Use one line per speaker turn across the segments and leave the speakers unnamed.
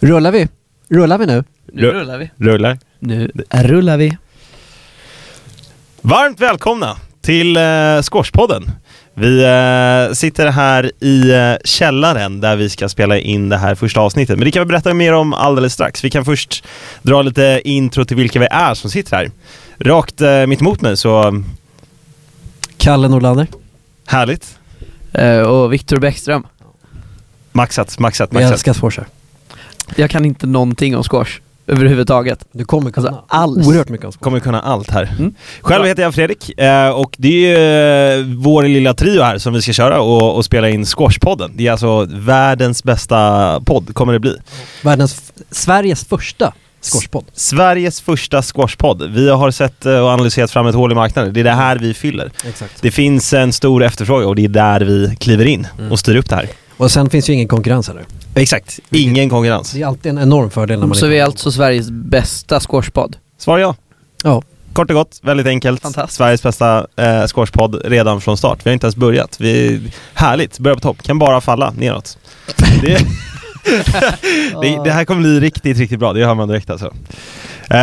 Rullar vi? Rullar vi nu?
Nu rullar vi. Rullar.
Nu rullar vi.
Varmt välkomna till eh, Squashpodden. Vi eh, sitter här i eh, källaren där vi ska spela in det här första avsnittet. Men det kan vi berätta mer om alldeles strax. Vi kan först dra lite intro till vilka vi är som sitter här. Rakt eh, mitt emot mig så mm,
Kalle Nordlander.
härligt.
Eh, och Viktor Bäckström.
Maxat, maxat,
Vi
maxat.
älskar Sforser.
Jag kan inte någonting om squash överhuvudtaget.
Du kommer kunna
Alltså, alls.
oerhört mycket om Sforser.
Kommer kunna allt här.
Mm.
Själv heter jag Fredrik eh, och det är ju eh, vår lilla trio här som vi ska köra och, och spela in Squashpodden. Det är alltså världens bästa podd, kommer det bli.
Världens, f- Sveriges första squashpodd.
Sveriges första squashpodd. Vi har sett eh, och analyserat fram ett hål i marknaden. Det är det här vi fyller.
Exakt.
Det finns en stor efterfrågan och det är där vi kliver in
Mm.
och styr upp det här.
Och sen finns ju ingen konkurrens heller.
Exakt. Ingen konkurrens.
Det är alltid en enorm fördel när man
Så
inte-
vi är alltså Sveriges bästa squashpodd.
Svar ja.
Ja.
Kort och gott, väldigt enkelt.
Fantastiskt.
Sveriges bästa eh, squashpodd redan från start. Vi har inte ens börjat. Vi härligt, börjar på topp. Kan bara falla neråt. Det, det, det här kommer bli riktigt, riktigt bra. Det hör man direkt alltså. Uh,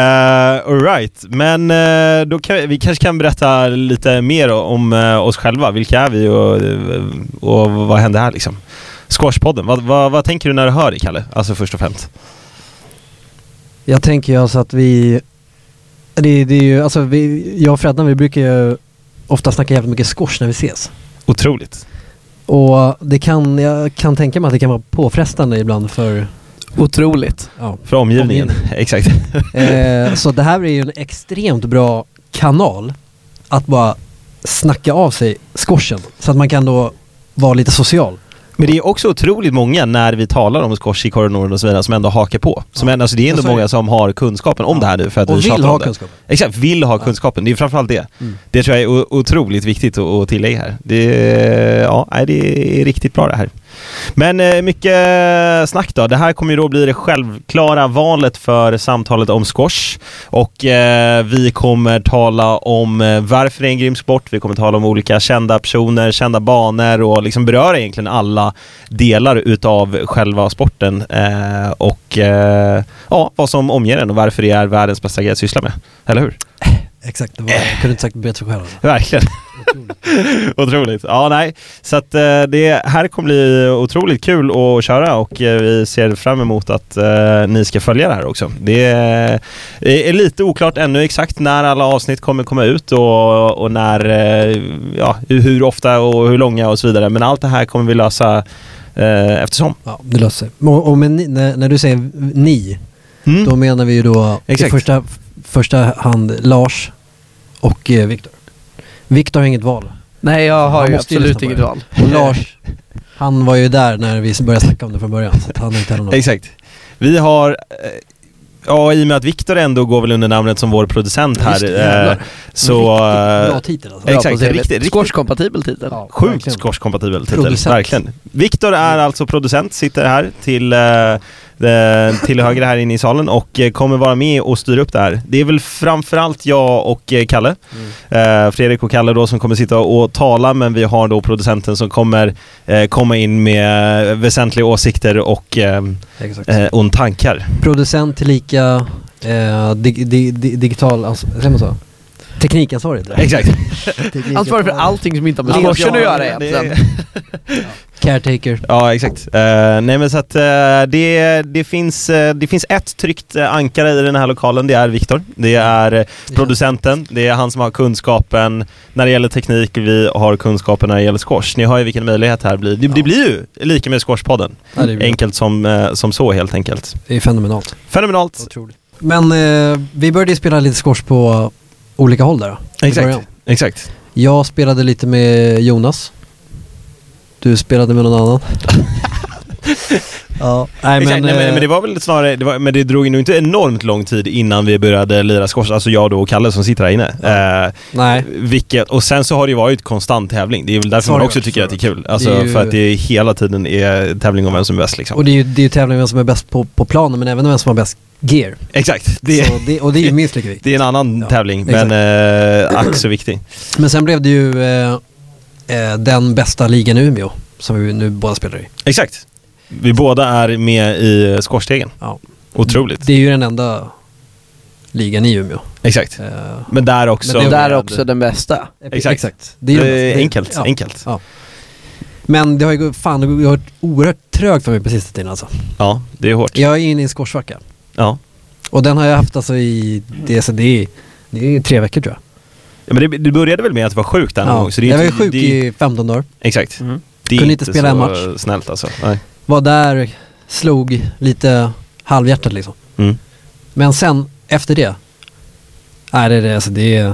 Alright, men eh, då kan, vi kanske kan berätta lite mer om eh, oss själva. Vilka är vi och, eh, och vad hände här liksom? Squashpodden, vad, vad, vad tänker du när du hör det Kalle? Alltså först och främst.
Jag tänker ju alltså att vi... Det, det är ju, alltså vi, jag och Freddan vi brukar ju ofta snacka jävligt mycket squash när vi ses.
Otroligt.
Och det kan, jag kan tänka mig att det kan vara påfrestande ibland för...
Otroligt.
Ja.
För omgivningen. Exakt.
Eh, så det här är ju en extremt bra kanal att bara snacka av sig skorsen så att man kan då vara lite social.
Men det är också otroligt många när vi talar om squash i korridoren och så vidare som ändå hakar på. Som
Ja.
ändå, alltså det är ändå
Ja, så är det.
många som har kunskapen om
Ja.
det här nu för att
och
vi
vill
tjatar om
ha
det.
kunskap.
Exakt, vill ha
Ja.
kunskapen. Det är framförallt det.
Mm.
Det tror jag är o- otroligt viktigt att- att tillägga här. Det, ja, nej, det är riktigt bra det här. Men eh, mycket snack då. Det här kommer ju då bli det självklara valet för samtalet om squash. Och eh, vi kommer tala om eh, varför det är en grym sport. Vi kommer tala om olika kända personer, kända banor och liksom beröra egentligen alla delar utav själva sporten. Eh, och eh, ja, vad som omger den och varför det är världens bästa grej att syssla med. Eller hur?
Exakt, det var, jag kunde inte sagt det bättre själv. alltså.
Verkligen. Otroligt. Ja, nej. Så att eh, det här kommer bli otroligt kul att köra och eh, vi ser fram emot att eh, ni ska följa det här också. Det är, det är lite oklart ännu exakt när alla avsnitt kommer komma ut och, och när, eh, ja, hur ofta och hur långa och så vidare. Men allt det här kommer vi lösa eh, eftersom.
Ja, det löser sig. Och, och men ni, när, när du säger ni,
Mm.
då menar vi ju då i
Exakt.
första, första hand Lars och eh, Viktor. Viktor har inget val.
Nej, jag har
Han
ju
måste ju lyssna
absolut inget
på det.
val.
Och Lars, han var ju där när vi började snacka om det från början. Så att han har inte heller något.
Exakt. Vi har eh, Ja, i och med att Viktor ändå går väl under namnet som vår producent
Just
här,
det,
eh,
jävlar.
så...
Riktigt
eh,
bra titel alltså.
Exakt,
Bra på CV.
riktigt, riktigt.
Squashkompatibel titel.
Ja,
Sjukt
verkligen.
squashkompatibel titel,
Producent.
verkligen. Viktor är
Mm.
alltså producent, sitter här till, eh, eh, till höger här inne i salen och eh, kommer vara med och styra upp det här. Det är väl framförallt jag och eh, Kalle, eh, Fredrik och Kalle då som kommer sitta och tala men vi har då producenten som kommer eh, komma in med eh, väsentliga åsikter och, eh,
Exakt.
eh, och tankar.
Producent tillika eh, dig, dig, dig, digital, ans- säger man så? Teknikansvarig. tror jag.
Exakt.
Ansvarig för allting som inte har med
Ja,
squashen att
ja,
göra
det-
egentligen.
Caretaker.
Ja, exakt. Eh, nej men så att eh, det, det, finns, eh, det finns ett tryggt eh, ankare i den här lokalen, det är Viktor. Det är eh, producenten, det är han som har kunskapen när det gäller teknik, vi har kunskapen när det gäller squash. Ni hör ju vilken möjlighet det här blir. Det, det
Ja.
blir ju lika med squashpodden.
Ja, det, är bra.
Enkelt som, eh, som så helt enkelt.
det är fenomenalt.
Fenomenalt!
Otroligt. Men eh, vi började ju spela lite squash på olika håll där då, i början.
Exakt. Exakt.
Jag spelade lite med Jonas. Du spelade med någon annan. ja, nej
Exakt. Nej,
men,
men, men det
eh,
var väl snarare, det var, men det drog nog inte enormt lång tid innan vi började lira squash, alltså jag då och Kalle som sitter här inne. Eh,
nej.
Vilket, och sen så har det ju varit konstant tävling. Det är väl därför
Så har
man
det
också
varit,
tycker
så
att det är
har det
kul. Alltså
Det är ju-
för att det är hela tiden är tävling om vem som är bäst liksom.
Och det är ju, det är ju tävlingen vem som är bäst på, på planen men även vem som har bäst gear.
Exakt, det,
Så det, och det är ju minst lika viktigt.
det är en annan
Ja,
tävling
exakt.
men eh, ack så viktig.
Men sen blev det ju eh, eh, den bästa ligan i Umeå som vi nu båda spelar i.
Exakt. Vi båda är med i skorstegen.
Ja.
Otroligt.
Det är ju den enda ligan i Umeå.
Exakt.
Eh,
Men där också...
Men
Det
det
där är också den bästa.
Exakt.
Det är ju-
Eh,
det-
enkelt,
ja.
enkelt.
Ja. Men det har ju gått- fan, det har varit oerhört trögt för mig på sista tiden alltså.
Ja, det är hårt.
Jag är inne i en skorssvacka.
Ja. Och
Och den har jag haft alltså i, det, så det, är, det är tre veckor tror jag.
Ja, men det, det började väl med att du var sjuk där någon gång? Så det är
jag var
inte-
ju sjuk
det,
i 15 dagar.
Exakt.
Mm.
Det är
Kunde inte spela en
så
match.
snällt alltså. Nej.
Var där, slog lite halvhjärtat liksom.
Mm.
Men sen, efter det. Nej det är det, alltså det är...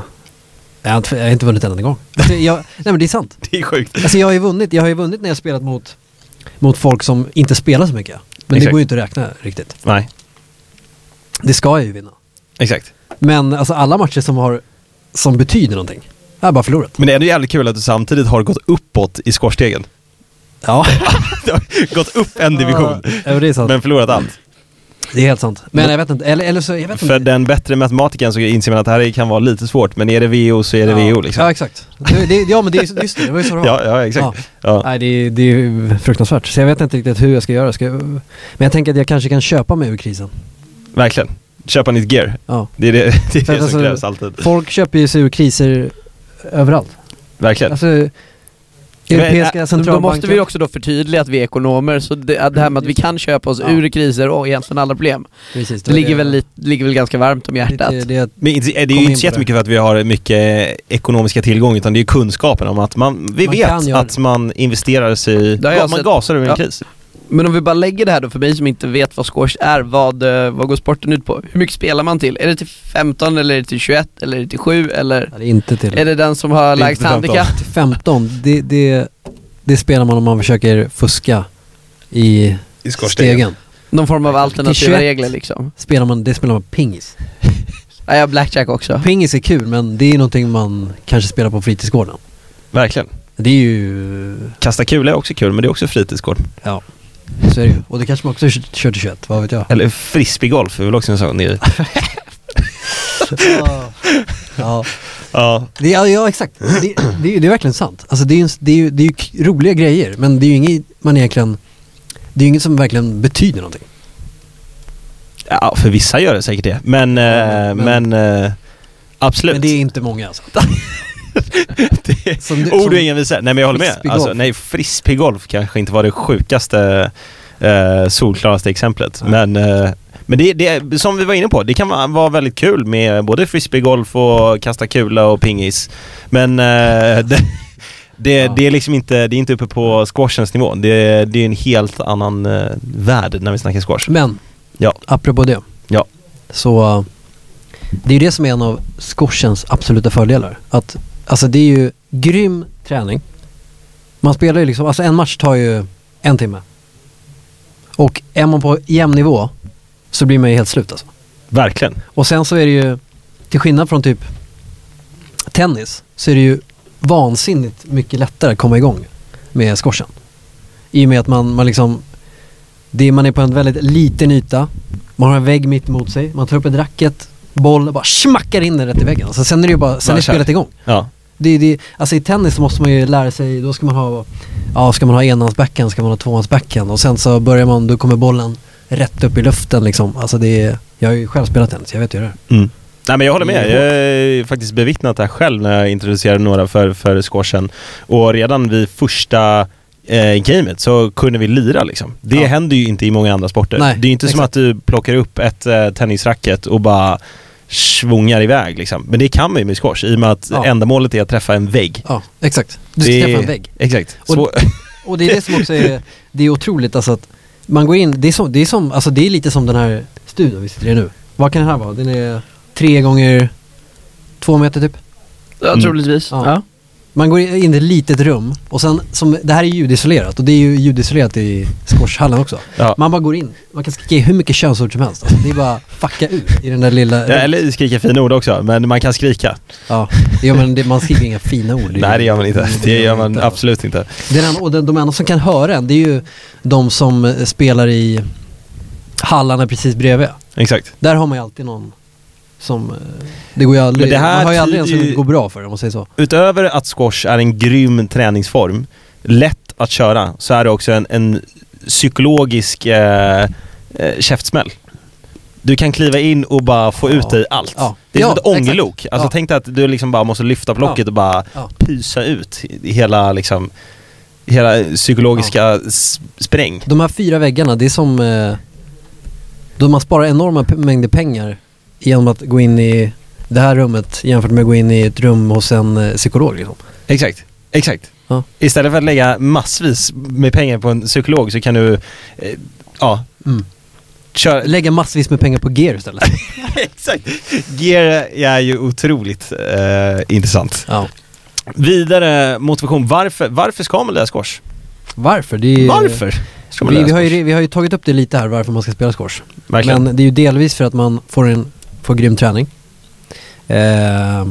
Jag har inte, jag har inte vunnit en enda gång. Alltså, jag, nej men det är sant.
Det är sjukt.
Alltså jag har ju vunnit, jag har ju vunnit när jag spelat mot, mot folk som inte spelar så mycket. Men det
Exakt.
går ju inte att räkna riktigt.
Nej,
Det ska jag ju vinna.
exakt.
Men alltså alla matcher som har, som betyder någonting, jag har bara förlorat.
Men det är ändå jävligt kul att du samtidigt har gått uppåt i skorstegen.
Ja,
Du har gått upp en division,
ja det är sant.
men förlorat allt.
det är helt sant. Men jag vet inte, eller, eller så, jag vet
För
inte.
den bättre matematikern så inser man att det här kan vara lite svårt, men är det VO så är det
ja.
VO liksom.
Ja exakt. Det, det, ja men det är just det, det var ju så det var.
Ja, ja exakt. Ja.
Nej det, är- det är ju fruktansvärt. Så jag vet inte riktigt hur jag ska göra. Ska jag, men jag tänker att jag kanske kan köpa mig ur krisen.
Verkligen. Köpa nytt gear.
Ja.
Det är det, det, är
För
det
att
som
alltså-
krävs alltid.
Folk köper ju sig ur kriser överallt.
Verkligen.
Alltså, europeiska
eh, äh, Då
centralbanken.
måste vi också då förtydliga att vi är ekonomer, så det, att det här med att vi kan köpa oss
Ja.
ur kriser och egentligen alla problem,
Precis,
det
var
ligger väl, lite, ligger väl ganska varmt om hjärtat.
Det, det,
Men inte- det är
Kom
ju
in
inte
på
så
det.
jättemycket för att vi har mycket ekonomiska tillgångar utan det är ju kunskapen om att man, vi
Man kan
vet
göra
att man investerar sig, i-
Det har jag
man
sett.
gasar ur en
Ja.
kris.
Men om vi bara lägger det här då för mig som inte vet vad squash är, vad, eh, vad går sporten ut på? Hur mycket spelar man till? Är det till 15 eller är det till 21 eller är det till 7 eller
ja, det är inte till.
är det den som har
inte
lägst
15.
handikapp?
till 15, det, det, det spelar man om man försöker fuska i
I
stegen.
Någon form av
Till
alternativa
21.
regler liksom?
Spelar man, det spelar man pingis.
Nej, jag har blackjack också.
Pingis är kul men det är någonting man kanske spelar på fritidsgården.
Verkligen.
Det är ju,
Kasta kula är också kul men det är också fritidsgård.
ja. Så är det ju. Och det kanske man också kör kör till 21, vad vet jag.
Eller frisbeegolf är väl också en sån grej.
Ja. ja.
ja.
Det, ja, ja exakt. Det, det, är ju- det är verkligen sant. Alltså det är ju en- det är ju- det är ju k- roliga grejer men det är ju inget man egentligen, det är ju inget som verkligen betyder någonting.
ja, för vissa gör det säkert det. Men, eh,
Men-
men, eh, absolut.
Men det är inte många alltså.
Det Oh, är-
Som du-
Ord
som-
och ingen visa. Nej men jag håller med.
Frisbeegolf.
Alltså, nej, frisbeegolf kanske inte var det sjukaste, eh, solklaraste exemplet.
Nej.
Men, eh, men det, det, som vi var inne på, det kan vara- vara väldigt kul med både frisbeegolf och kasta kula och pingis. Men eh, det, det,
Ja.
det är liksom inte, det är inte uppe på squashens nivå. Det, det är en helt annan eh, värld när vi snackar squash.
Men,
Ja.
apropå det.
Ja.
Så, eh, det är ju det som är en av squashens absoluta fördelar. Att, alltså det är ju grym träning. Man spelar ju liksom, alltså en match tar ju en timme. Och är man på jämn nivå så blir man ju helt slut alltså.
Verkligen.
Och sen så är det ju, till skillnad från typ tennis, så är det ju vansinnigt mycket lättare att komma igång med squashen. I och med att man, man liksom, det, man är på en väldigt liten yta, man har en vägg mitt emot sig, man tar upp ett racket, boll, bara smackar in den rätt i väggen. Så sen är det ju bara, sen är
Bara kör.
spelet igång.
Ja.
Det, det, alltså i tennis så måste man ju lära sig, då ska man ha, ja ska man ha enhandsbackhand, ska man ha tvåhandsbackhand och sen så börjar man, då kommer bollen rätt upp i luften liksom. Alltså det är, jag har ju själv spelat tennis, jag vet ju hur det är.
Mm. Nej men jag håller med.
Mm.
Jag har faktiskt bevittnat det här själv när jag introducerade några för, för ett år sedan. Och redan vid första eh, gamet så kunde vi lira liksom. Det
Ja.
händer ju inte i många andra sporter.
Nej,
det är ju inte som
exakt.
att du plockar upp ett eh, tennisracket och bara svungar iväg liksom. Men det kan man ju med squash i och med att
Ja.
ändamålet är att träffa en vägg.
Ja, exakt. Du ska
Det-
träffa en vägg.
Exakt.
Och-
Svår-
Och det är det som också är, det är otroligt alltså att man går in, det är, som, det är som, alltså det är lite som den här studion vi sitter i nu. Vad kan den här vara? Den är tre gånger två meter typ.
Ja,
Mm.
troligtvis.
Ja.
Ja.
Man går in i ett litet rum och sen, som, det här är ljudisolerat och det är ju ljudisolerat i squashhallen också.
ja.
Man bara går in, man kan skrika hur mycket könsord som helst. Alltså, det är bara fucka ut i den där lilla...
Ja, Eller skrika fina ord också, men man kan skrika.
Ja, jo, men det, man skriver inga fina ord. är-
Nej det gör man inte. Det gör man absolut inte.
Det är den, och den, de enda som kan höra en, det är ju de som eh, spelar i hallarna precis bredvid.
Exakt.
Där har man ju alltid någon som... eh, Det går ju aldrig...
Men det här
man har ju aldrig en
tyder
som
ju-
det går bra för om man säger så.
Utöver att squash är en grym träningsform, lätt att köra, så är det också en, en psykologisk eh, eh, käftsmäll. Du kan kliva in och bara få
Ja.
ut dig allt.
Ja.
Det är
Ja,
som ett ångelok. Alltså
Ja.
tänk dig att du liksom bara måste lyfta på locket och bara
Ja.
pysa ut i- i hela liksom Hela psykologiska s- spräng.
De här fyra väggarna, det är som... Eh, då man sparar enorma p- mängder pengar genom att gå in i det här rummet jämfört med att gå in i ett rum hos en eh, psykolog. Liksom.
Exakt. Exakt.
Ja.
Istället för att lägga massvis med pengar på en psykolog så kan du, eh, ja,
Mm.
köra,
Lägga massvis med pengar på gear istället.
Exakt. Gear är ju otroligt eh, intressant.
ja.
Vidare motivation. Varför, varför ska man lära squash?
Varför? Det är,
Varför ska man
Vi,
lära
vi, har
squash?
ju, vi har ju tagit upp det lite här varför man ska spela squash.
Verkligen.
Men det är ju delvis för att man får en får grym träning eh,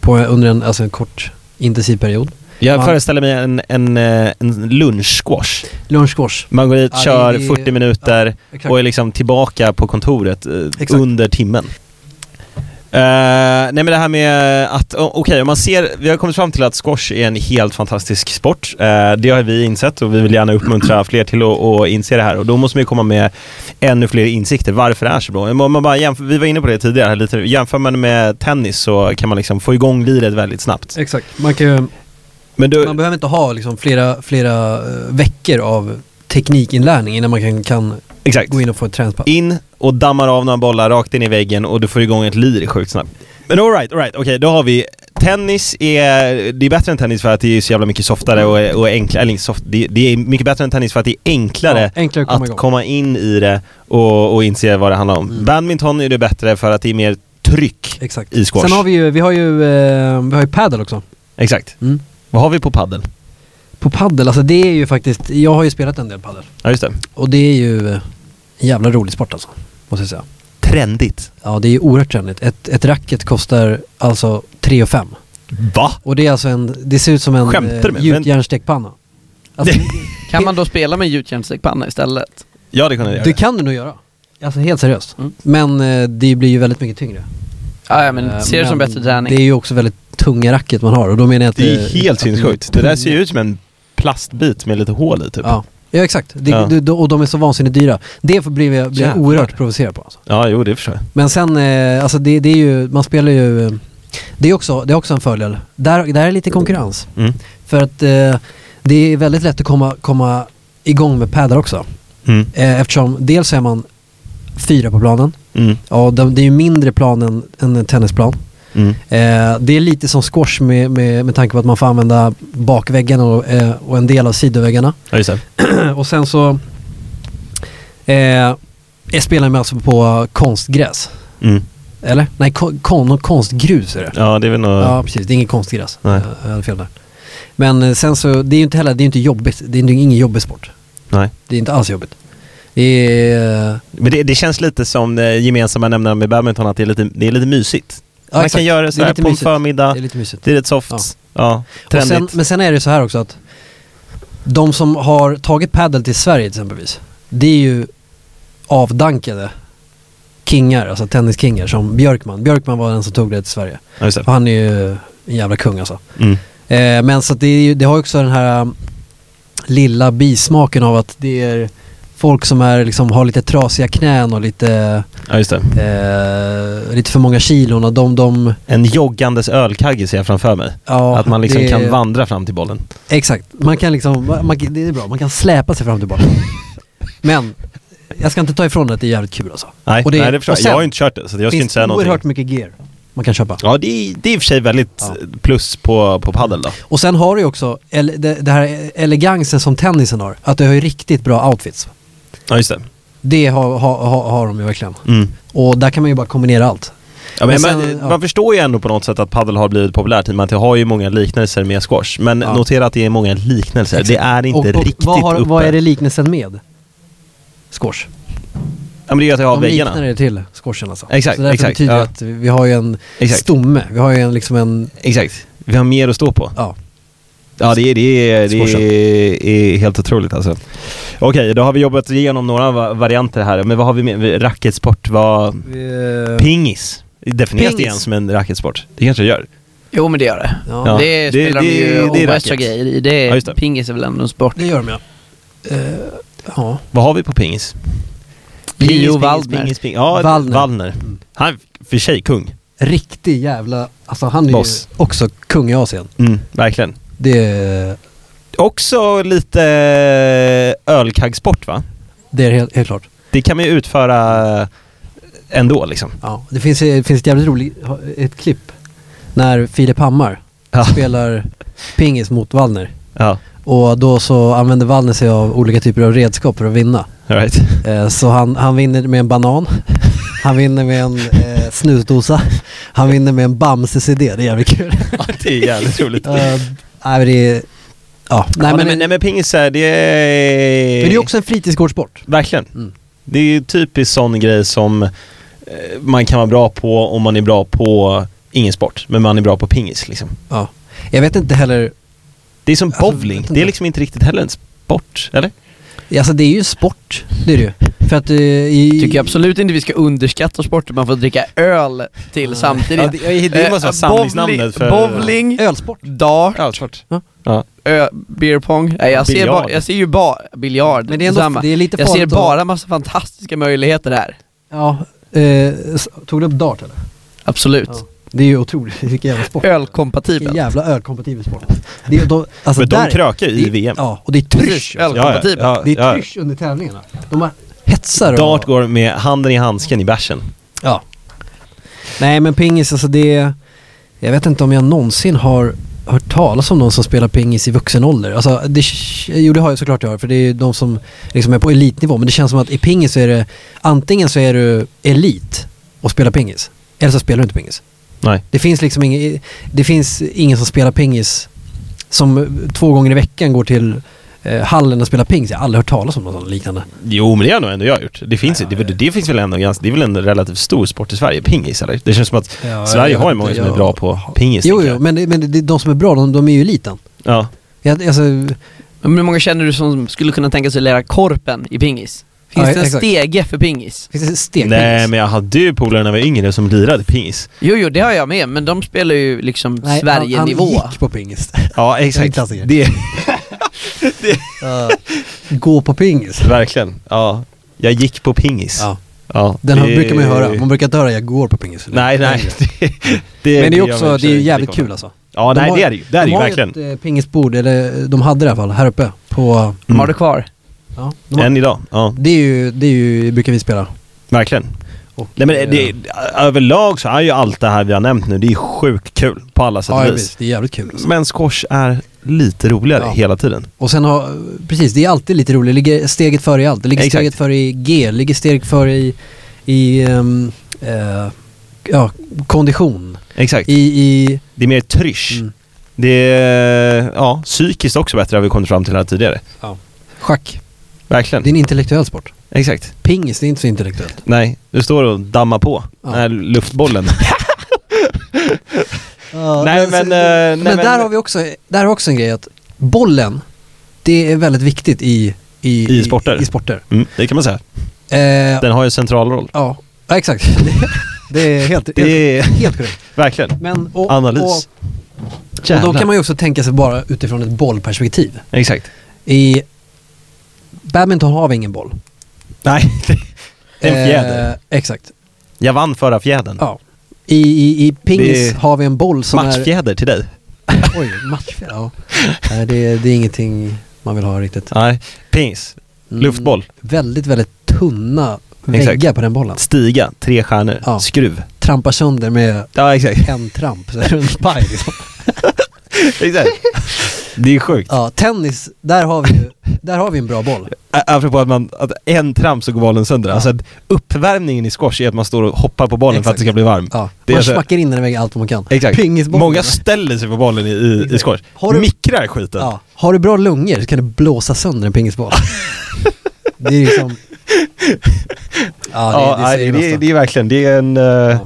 på, under en, alltså en kort intensiv period.
jag
man-
föreställer mig en, en, eh, en lunchsquash.
Lunchsquash.
Man går dit,
Ja, det-
kör
det-
40 minuter och är liksom tillbaka på kontoret eh,
Exakt.
under timmen. Eh, nej men det här med att, o- okej om man ser, vi har kommit fram till att squash är en helt fantastisk sport. Eh, det har vi insett och vi vill gärna uppmuntra fler till att, att inse det här och då måste man ju komma med ännu fler insikter varför det är så bra. Om man bara jämför, vi var inne på det tidigare, här lite, jämför man med tennis så kan man liksom få igång liret väldigt snabbt.
Exakt. Man, kan, ju-
Men du,
man behöver inte ha liksom flera, flera eh, veckor av teknikinlärning innan man kan, kan
exakt.
gå in och få ett träningspass.
in och dammar av några bollar rakt in i väggen och du får igång ett lir sjukt snabbt. Men alright, alright, okej då har vi Tennis är, det är bättre än tennis för att det är så jävla mycket softare och, och enklare, eller inte soft, det, det är mycket bättre än tennis för att det är enklare
Ja, enklare att komma
att
igång.
komma in i det och, och inse vad det handlar om.
Mm.
Badminton är det bättre för att det är mer tryck
Exakt.
i squash.
Sen har vi ju, vi har ju, eh, vi har ju padel också.
Exakt.
Mm.
Vad har vi på padden?
På padel, alltså det är ju faktiskt, jag har ju spelat en del padel.
Ja just det.
Och det är ju eh, en jävla rolig sport alltså, måste jag säga.
Trendigt.
Ja, det är ju oerhört trendigt. Ett, ett racket kostar alltså 3 och 5.
Va?
Och det är alltså en, det ser ut som en
Skämtar du med mig?
gjutjärnstekpanna. Alltså,
Kan man då spela med gjutjärnstekpanna istället?
Ja det kunde jag göra.
det kan du nog göra. Alltså helt seriöst.
Mm.
Men eh, det blir ju väldigt mycket tyngre.
Ja, ja men
Eh,
ser det som
men
bättre träning.
Det är ju också väldigt tunga racket man har och då menar jag att
Det
eh,
är helt
att-
sinnessjukt. typ. Det där ser ju ut som en plastbit med lite hål i typ.
Ja. Ja exakt, det,
Ja.
du- du- och de är så vansinnigt dyra. Det blev jag, blev jag
Jävlar.
oerhört provocerad på alltså.
ja jo det förstår jag.
Men sen, eh, alltså det, det är ju, man spelar ju, eh, det är också, det är också en fördel. Där, där är lite konkurrens.
Mm.
För att eh, det är väldigt lätt att komma, komma igång med padel också.
Mm.
Eh, eftersom dels så är man fyra på planen.
Mm.
Ja, de, det är ju mindre plan än, än en tennisplan.
Mm.
Eh, det är lite som squash med, med, med tanke på att man får använda bakväggarna och, eh, och en del av sidoväggarna.
Ja, just det.
och sen så eh, spelar man alltså på konstgräs.
Mm.
Eller? Nej, kon, kon, konstgrus är det.
Ja, det är väl något...
Ja, precis. Det är inget konstgräs.
Nej.
Jag jag hade fel där. Men eh, sen så, det är ju inte heller, det är ju inte jobbigt. Det är ju ingen jobbig sport.
Nej.
Det är inte alls jobbigt. Det är...
Men det, det känns lite som det gemensamma nämnaren med badminton, att det är lite, det är lite mysigt.
Ja,
Man
exakt.
kan göra det
Det är
sådär
lite
på en
mysigt.
förmiddag,
Det är lite mysigt.
det är rätt soft,
Ja.
ja,
Och
trendigt.
sen, men sen är det så här också att de som har tagit padel till Sverige exempelvis, det är ju avdankade kingar, alltså tenniskingar som Björkman. Björkman var den som tog det till Sverige.
ja, just det.
Och han är ju en jävla kung alltså.
Mm.
Eh, men så att det, är ju, det har ju också den här um, lilla bismaken av att det är folk som är, liksom, har lite trasiga knän och lite,
ja, just det.
eh, lite för många kilon och de, de
En joggandes ölkagge ser jag framför mig.
ja,
att man liksom
det-
kan vandra fram till bollen.
Exakt, man kan liksom, man, man- det är bra, man kan släpa sig fram till bollen. men jag ska inte ta ifrån det att det är jävligt kul alltså.
Nej,
Och det-
nej det förstår
och
jag.
sen
Jag har ju inte kört det, så jag ska
finns
inte säga
oerhört
någonting.
mycket gear man kan köpa.
Ja, det är, det är i och för sig väldigt
Ja.
plus på, på paddel då.
Och sen har du ju också ele, det, det här elegansen som tennisen har, att du har ju riktigt bra outfits.
Ja, just det.
Det har, har, har, har de ju verkligen.
Mm.
Och där kan man ju bara kombinera allt.
Ja, men
Men sen-
man,
ja.
man förstår ju ändå på något sätt att paddel har blivit populärt i och med att det har ju många liknelser med squash. Men
Ja.
notera att det är många liknelser. Det är inte
och, och
riktigt
vad, har,
uppe.
vad är det liknelsen med? Squash.
Ja men det är ju att jag har
de
väggarna.
liknar det till squashen alltså.
Exakt,
Så därför
exakt,
betyder det
ja.
att vi- vi har ju en
Exakt.
stomme, vi har ju en, liksom en,
Exakt. Vi har mer att stå på.
ja.
Ja det är, det är, det
Squashen.
är, är helt otroligt alltså. Okej, då har vi jobbat igenom några va- varianter här. Men vad har vi med? Racketsport, vad... Pingis. Definieras det
Pingis.
igen som en racketsport? Det kanske det gör.
Jo men det gör det.
Ja,
Ja.
Det
det-
spelar de
det-
ju
det är
ovästra
racket.
grejer i. Det är,
Ja, just det.
Pingis är väl ändå en sport.
det gör de ja. Eh, Ja.
Vad har vi på pingis?
Leo
pingis,
Waldner.
pingis, pingis. Ja, Waldner.
Waldner.
Han är för sig kung.
Riktig jävla, alltså han är
Boss.
ju också kung i Asien.
Mm. verkligen.
Det är,
Också lite eh, ölkaggsport va?
det är helt, helt klart.
Det kan man ju utföra ändå liksom.
Ja, det finns, det finns ett jävligt roligt ett klipp när Filip Hammar
Ja.
spelar pingis mot Wallner.
Ja,
Och då så använder Wallner sig av olika typer av redskap för att vinna.
all right.
Eh, Så han, han vinner med en banan, han vinner med en eh, snusdosa, han vinner med en Bamse-CD, det är jävligt kul.
Ja, det är jävligt roligt.
Eh, nej men det är,
Nej,
ja,
men,
nej, men,
nej
men
men pingis är det är...
det är också en fritidsgårdssport.
Verkligen.
Mm.
Det är ju typiskt sån grej som eh, man kan vara bra på om man är bra på ingen sport, men man är bra på pingis liksom.
Ja. Jag vet inte heller,
Det är som
Alltså,
bowling,
vet inte.
det är liksom inte riktigt heller en sport, eller?
alltså det är ju en sport, det är det ju. För att eh, i...
Tycker jag absolut inte vi ska underskatta sporter man får dricka öl till
Nej.
samtidigt.
Ja, det, det måste
Eh,
vara samlingsnamnet för...
bowling- Bowling,
Ölsport.
dart,
Ja, svårt.
ö, beer pong. Nej, jag, ser
Biljard.
bara, jag ser ju bara biljard.
Men det är, ändå,
detsamma.
det är lite
jag ser
farligt att-
bara massa fantastiska möjligheter här.
Ja, eh, s- tog du upp dart eller?
Absolut.
Ja. Det är ju otroligt, vilken jävla sport. Vilken
Ölkompatibelt.
jävla ölkompatibel sport. Det är, de, alltså
Men de
där-
krökar ju i
det,
VM.
Ja, och det är
Precis,
trysch. alltså.
ölkompatibelt.
Ja,
Det
ja,
är
ja.
trysch under tävlingarna. De har hetsar och...
Dart går med handen i handsken i bärsen.
Ja. Nej men pingis, alltså det... är- Jag vet inte om jag någonsin har hört talas om någon som spelar pingis i vuxen ålder. Alltså, det, jo det har jag såklart jag har, för det är ju de som liksom är på elitnivå. Men det känns som att i pingis så är det, antingen så är du elit och spelar pingis, eller så spelar du inte pingis.
Nej.
Det finns liksom ingen, det finns ingen som spelar pingis som två gånger i veckan går till eh, hallen och spelar pingis. Jag har aldrig hört talas om något sånt liknande.
Jo, men det har nog ändå jag gjort. Det finns, ju- det, det finns väl ändå ganska, det är väl en relativt stor sport i Sverige, pingis eller? Det känns som att
Ja,
Sverige
jag
har ju
vet
många
inte,
som är
jag-
bra på pingis.
Jo,
tänker
jo
jag.
men, det, men det, de som är bra, de, de är ju eliten.
Ja.
Jag, alltså,
Men hur många känner du som skulle kunna tänka sig att lära korpen i pingis? Finns
Ja,
det en
exakt.
stege för pingis?
finns det stekpingis?
Nej, men jag hade ju polare när jag var yngre som lirade pingis.
Jo, jo, det har jag med, men de spelar ju liksom
Nej,
Sverige-nivå.
Han, han gick på pingis.
Ja,
Det är en
exakt.
klassiker.
Det,
Ja. Gå på pingis.
verkligen. Ja. Jag gick på pingis.
Ja.
Ja,
Den har,
det-
brukar man ju höra. Man brukar inte höra jag går på pingis.
Nej, nej.
Men det är
gör
ju också,
man i och för
det är
sig
ju
inte
jävligt
komma.
kul alltså.
Ja,
De
nej
har-
det är det ju. Det är det
de
ju
har
verkligen.
ju ett eh, pingisbord, eller de hade det i alla fall, här uppe. På,
De
Mm.
har det kvar.
ja, de har,
Än idag. Ja,
det, är ju, det är ju, brukar vi spela.
verkligen.
Och,
Nej men det,
eh,
överlag så är ju allt det här vi har nämnt nu, det är sjukt kul på alla sätt
ja,
och
ja,
vis.
visst, det är jävligt kul. Alltså.
Men squash är lite roligare
Ja.
hela tiden.
Och sen har, precis, det är alltid lite roligt. Det ligger steget före i allt. Det ligger
Exakt.
steget före i G, det ligger steget före i, i ehm, eh, ja, kondition.
Exakt.
I, i
Det är mer trysch.
Mm.
Det är, ja, psykiskt också bättre har vi kommit fram till här tidigare.
schack.
Verkligen.
Det är en intellektuell sport.
Exakt.
Pingis, det är inte så intellektuellt.
Nej, du står och dammar på.
Ja.
Den här luftbollen. nej men... eh, nej,
men, där har vi också, där har vi också en grej att bollen, det är väldigt viktigt i, i,
I sporter.
I, sporter.
Mm, det kan man säga.
Eh,
Den har ju en central roll.
ja, ja, exakt. Det, är helt, helt,
Det är,
helt korrekt.
verkligen.
Men, och,
Analys.
Och, och då kan man ju också tänka sig bara utifrån ett bollperspektiv.
Exakt.
I badminton har vi ingen boll.
Nej, det är en fjäder. Mm.
Eh, exakt.
Jag vann förra fjädern.
Ja. I, i, i pingis
Det är-
har vi en boll som är...
Matchfjäder till dig.
Oj, matchfjäder. Ja. Nej, det, det är ingenting man vill ha riktigt.
Nej, pingis.
Mm,
Luftboll.
Väldigt, väldigt tunna
Exakt.
väggar på den bollen.
Stiga, tre stjärnor.
Ja.
Skruv.
Trampar sönder med
Ja, exakt.
en tramp så är det en paj liksom.
exakt. Det är sjukt.
Ja, tennis, där har vi ju, där har vi en bra boll.
Ä- Apropå att man, att en tramp så går bollen sönder. Alltså att uppvärmningen i squash är att man står och hoppar på bollen för att
Exakt.
det ska bli varm.
Ja,
Det är
man
så-
smackar in den i väggen allt vad man kan.
Exakt.
Pingisbollen.
Många ställer sig på bollen i, i, i
Exakt.
squash.
Har du-
Mikrar skiten.
Ja. Har du bra lungor så kan du blåsa sönder en pingisboll. det är liksom... Ja,
Ja,
det, det säger
nej, det, är-
nästan.
det är verkligen, det är en... eh,
Ja.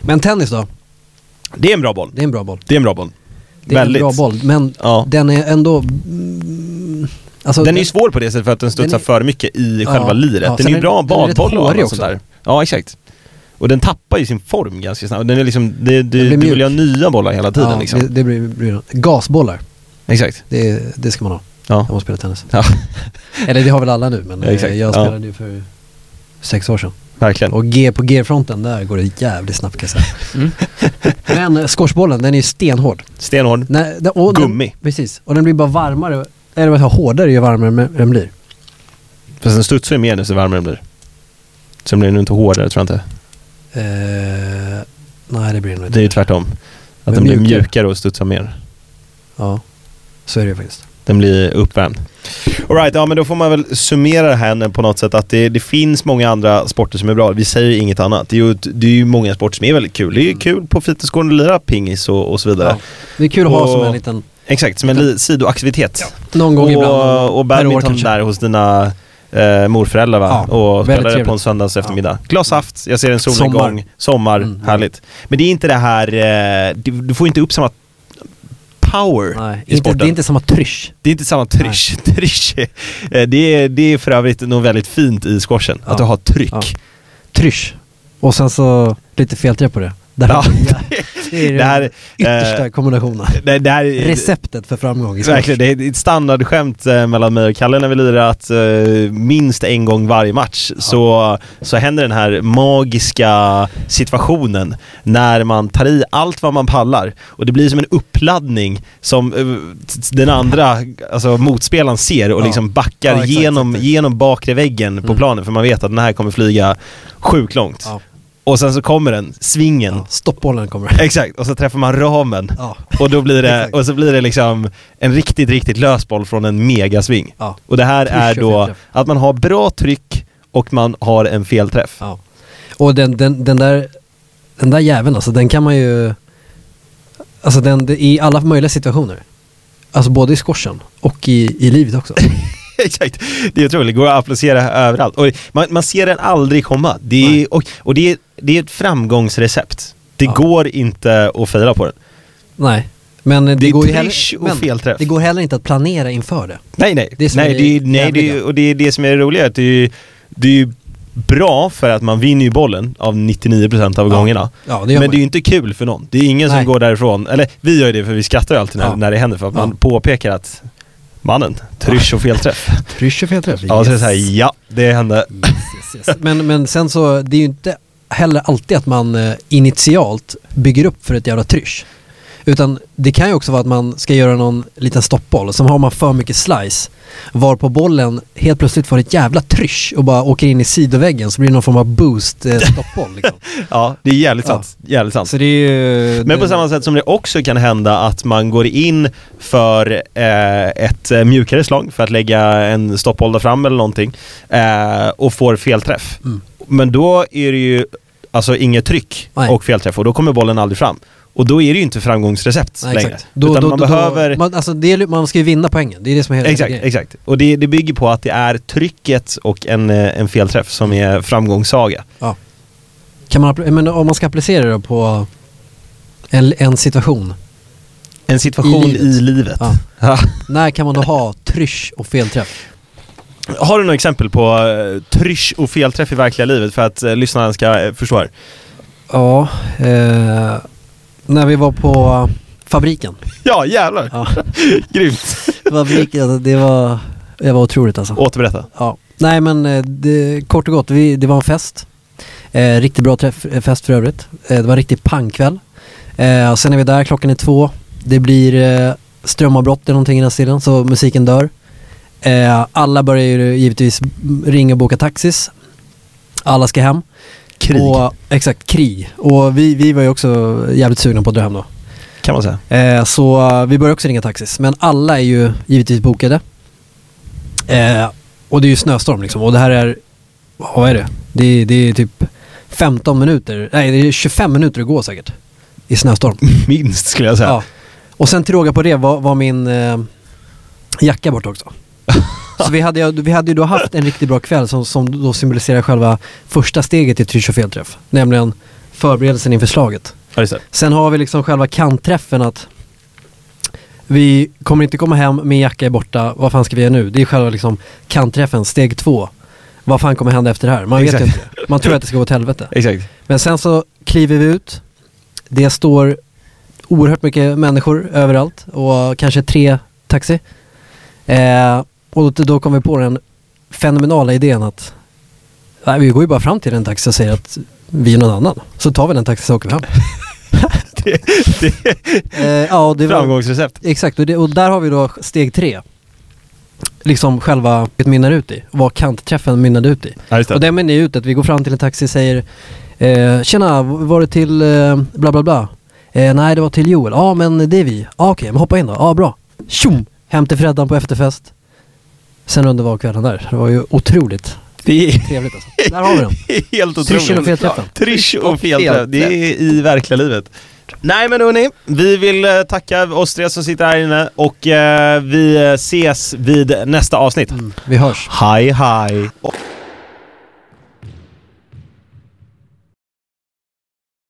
Men tennis då?
Det är en bra boll.
Det är en bra boll.
Det är en bra boll.
Det är
Väldigt.
en bra boll, men
Ja.
den är ändå... mm, Alltså,
den är ju svår på det sättet för att den studsar
den är-
för mycket i
Ja,
själva liret.
ja,
den
sen
är ju
är-
bra
den är rätt
badboll och
hårig
allt
också.
sånt där. Ja, exakt. Och den tappar ju sin form ganska snabbt. Den är liksom, det,
Den
du,
blir
du vill ju ha
mjuk.
nya bollar hela tiden
ja,
liksom.
det, det blir, blir... Gasbollar,
Exakt.
det, det ska man ha.
Ja.
när man spelar tennis.
Ja.
Eller det har väl alla nu men
Ja, exakt.
eh, jag
Ja.
spelade ju för sex år sedan.
Verkligen.
Och G på G-fronten, där går det jävligt snabbt kan jag säga.
Mm.
Men eh, squashbollen, den är ju stenhård.
Stenhård.
Nej, den, och
Gummi.
Den, precis, och den blir bara varmare, eller vad jag sa, hårdare ju varmare me- den blir.
Fast den studsar ju mer nu så varmare den blir. Så den blir nu inte hårdare tror jag inte.
Eh, nej det blir den nog inte.
Det är ju tvärtom. Att
Men
den blir
mjukare.
mjukare och studsar mer.
Ja, så är det ju faktiskt.
Den blir uppvärmd. Alright, ja men då får man väl summera det här på något sätt att det, det finns många andra sporter som är bra. Vi säger ju inget annat. Det är ju, ett- det är ju många sporter som är väldigt kul. Det är ju kul på fritidsgården att lira pingis och, och så vidare.
Ja. Det är kul att ha
Och-
som en liten,
Exakt, som en li- sidoaktivitet.
någon gång ibland.
och, och
per år
badminton
kanske.
där hos dina eh, morföräldrar va?
Ja,
och
väldigt
spelade på en
trevligt.
söndags eftermiddag. Glas saft, jag ser en solnedgång, sommar,
Sommar. Mm.
härligt. Men det är inte det här, eh, du, du får inte upp samma power
Nej,
i
inte,
sporten.
det är inte samma trysch.
samma trysch. trysch är- eh, det, är, det är för övrigt något väldigt fint i squashen,
Ja.
att du har tryck.
Ja. Trysch. Och sen så lite felträff på det. Det här,
Ja.
det är
Det här, eh,
den yttersta kombinationen.
det, det här är-
Receptet för framgång i squash.
Verkligen, det är ett standardskämt eh, mellan mig och Kalle när vi lirar att eh, minst en gång varje match så, så händer den här magiska situationen när man tar i allt vad man pallar och det blir som en uppladdning som eh, t- t- den andra, alltså motspelaren ser och
Ja.
liksom backar
Ja, exakt,
genom,
exakt.
genom bakre väggen på
Mm.
planen för man vet att den här kommer flyga sjukt långt.
Ja,
Och sen så kommer den, svingen.
ja. Stoppbollen kommer.
Exakt, och så träffar man ramen.
Ja,
Och, då blir det,
Exakt.
och så blir det liksom en riktigt, riktigt lös boll från en megasving.
ja,
Och det här
Tryck
är
och
då
felträff.
att man har bra tryck och man har en felträff.
ja. Och den, den, den där den där jäveln alltså, den kan man ju... Alltså den, det- i alla möjliga situationer. Alltså både i squashen och i, i livet också.
Exakt, det är otroligt. Det går att applicera överallt. Och man, man ser den aldrig komma. Det
Nej.
är, och och det, är, det är ett framgångsrecept. Det
Ja.
går inte att fejla på den.
Nej. Men det,
Det är
går ju
trysch
heller,
och felträff.
det går heller inte att planera inför det.
Nej, nej.
Det som
nej,
är
det, är- nej det, är-
jävliga.
och det är det som är det roliga. Att det, är, ju- det är ju bra för att man vinner ju bollen av 99% av
Ja.
gångerna.
Ja, det gör
men
man
det är
ju.
ju inte kul för någon. Det är ingen som
Nej.
går därifrån, eller vi gör ju det för vi skrattar ju alltid när,
Ja.
när det händer för att man
Ja.
påpekar att mannen, trysch och felträff.
Trysch och felträff.
Ja, så är det
Yes.
så här, ja, det hände.
Yes, yes, yes. Men, men sen så, det är ju inte heller alltid att man eh, initialt bygger upp för ett jävla trysch. Utan det kan ju också vara att man ska göra någon liten stoppboll, och sen har man för mycket slice, varpå bollen helt plötsligt får ett jävla trysch och bara åker in i sidoväggen så blir det någon form av boost eh, stoppboll liksom.
Ja, det är jävligt
Ja.
sant. Jävligt sant.
Så det är ju...
Alltså. Men på
det-
samma sätt som det också kan hända att man går in för eh, ett eh, mjukare slag för att lägga en stoppboll där fram eller någonting eh, och får felträff.
Mm.
Men då är det ju alltså inget tryck
Nej.
och felträff och då kommer bollen aldrig fram. Och då är det ju inte framgångsrecept
Nej,
längre.
exakt. Då,
Utan
då,
man
då,
behöver...
Då, man, alltså det gäller, man ska ju vinna poängen, det är det som är hela
Exakt,
grejen.
exakt. Och det, det bygger på att det är trycket och en, eh, en felträff som är framgångssaga.
Ja. Kan man, appli- men om man ska applicera det då på en, en situation,
En situation i
I
livet.
livet. Ja.
Ja.
När kan man då ha trysch och felträff?
Har du några exempel på uh, trysch och felträff i verkliga livet för att uh, lyssnarna ska eh, förstå här?
Ja, eh, när vi var på eh, fabriken.
Ja, jävlar!
Ja,
Grymt!
fabriken, det var, det var otroligt alltså.
Återberätta.
Ja. Nej men eh, det, kort och gott, vi, det var en fest. Eh, riktigt bra träff, eh, fest för övrigt. Eh, det var en riktig pangkväll. Eh, och sen är vi där, klockan är två. Det blir eh, strömavbrott eller någonting i den här stilen, så musiken dör. Eh, alla börjar ju givetvis ringa och boka taxis. Alla ska hem.
Krig,
Och, exakt, krig. Och vi, vi var ju också jävligt sugna på att dra hem då.
kan man säga.
Eh, så eh, vi började också ringa taxis. Men alla är ju givetvis bokade. Eh, och det är ju snöstorm liksom. Och det här är, vad är det? Det är, det är typ 15 minuter, nej det är 25 minuter att gå säkert. I snöstorm.
Mm, Minst skulle jag säga.
Ja. Och sen till råga på det var, var min eh, jacka borta också. Så vi hade, ju- vi hade ju då haft en riktigt bra kväll som, som då symboliserar själva första steget i trysch och felträff. Nämligen förberedelsen inför slaget.
Ja, just det.
Sen har vi liksom själva kantträffen att vi kommer inte komma hem, min jacka är borta, vad fan ska vi göra nu? Det är själva liksom kantträffen, steg två. Vad fan kommer hända efter det här? Man vet
Exakt.
ju inte. Man tror att det ska gå åt helvete.
Exakt.
Men sen så kliver vi ut. Det står oerhört mycket människor överallt och kanske tre taxi. Eh, och då- då kom vi på den fenomenala idén att nej, vi går ju bara fram till en taxi och säger att vi är någon annan. Så tar vi den taxin och åker vi hem.
Det, det är
Eh, ja, och det var,
framgångsrecept.
Exakt, och, det, och där har vi då steg tre. Liksom själva det mynnar ut i, vad kantträffen mynnade ut i.
Ja, just det.
Och den mynnar ju ut att vi går fram till en taxi och säger eh, Tjena, var det till eh, bla bla bla? Eh, nej, det var till Joel. Ja, men det är vi. Ja, okej, men hoppa in då. Ja, bra. Tjom! Hem till Freddan på efterfest. Sen underbar kvällen där. Det var ju otroligt
Det är
trevligt alltså. Där har vi den.
helt
Tryschen och
otroligt.
felträffen.
Trish och felträff, det är i verkliga livet. Nej men hörni, vi vill eh, tacka oss tre som sitter här inne och eh, vi eh, ses vid nästa avsnitt.
Mm, Vi hörs.
Hej hej!